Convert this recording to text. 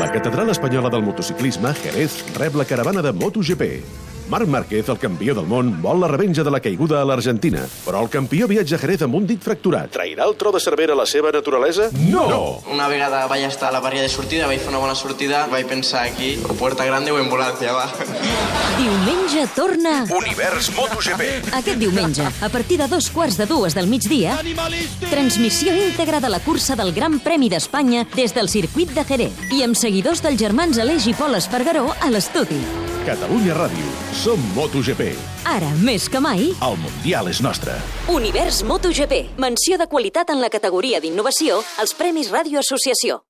La Catedral Espanyola del Motociclisme, Jerez, rep la caravana de MotoGP. Marc Márquez, el campió del món, vol la revenja de la caiguda a l'Argentina. Però el campió viatja a Jerez amb un dit fracturat. Trairà el tro de Cervera a la seva naturalesa? No! no. Una vegada vaig estar a la barria de sortida, vaig fer una bona sortida, vaig pensar aquí, o Puerta Grande o ambulància, va. Diumenge torna... Univers MotoGP. Aquest diumenge, a partir de dos quarts de dues del migdia, transmissió íntegra de la cursa del Gran Premi d'Espanya des del circuit de Jerez i amb seguidors dels germans Aleix i Pol Espargaró a l'estudi. Catalunya Ràdio. Som MotoGP. Ara, més que mai, El Mundial és nostre. Univers MotoGP. Menció de qualitat en la categoria d'innovació als Premis Ràdio Associació.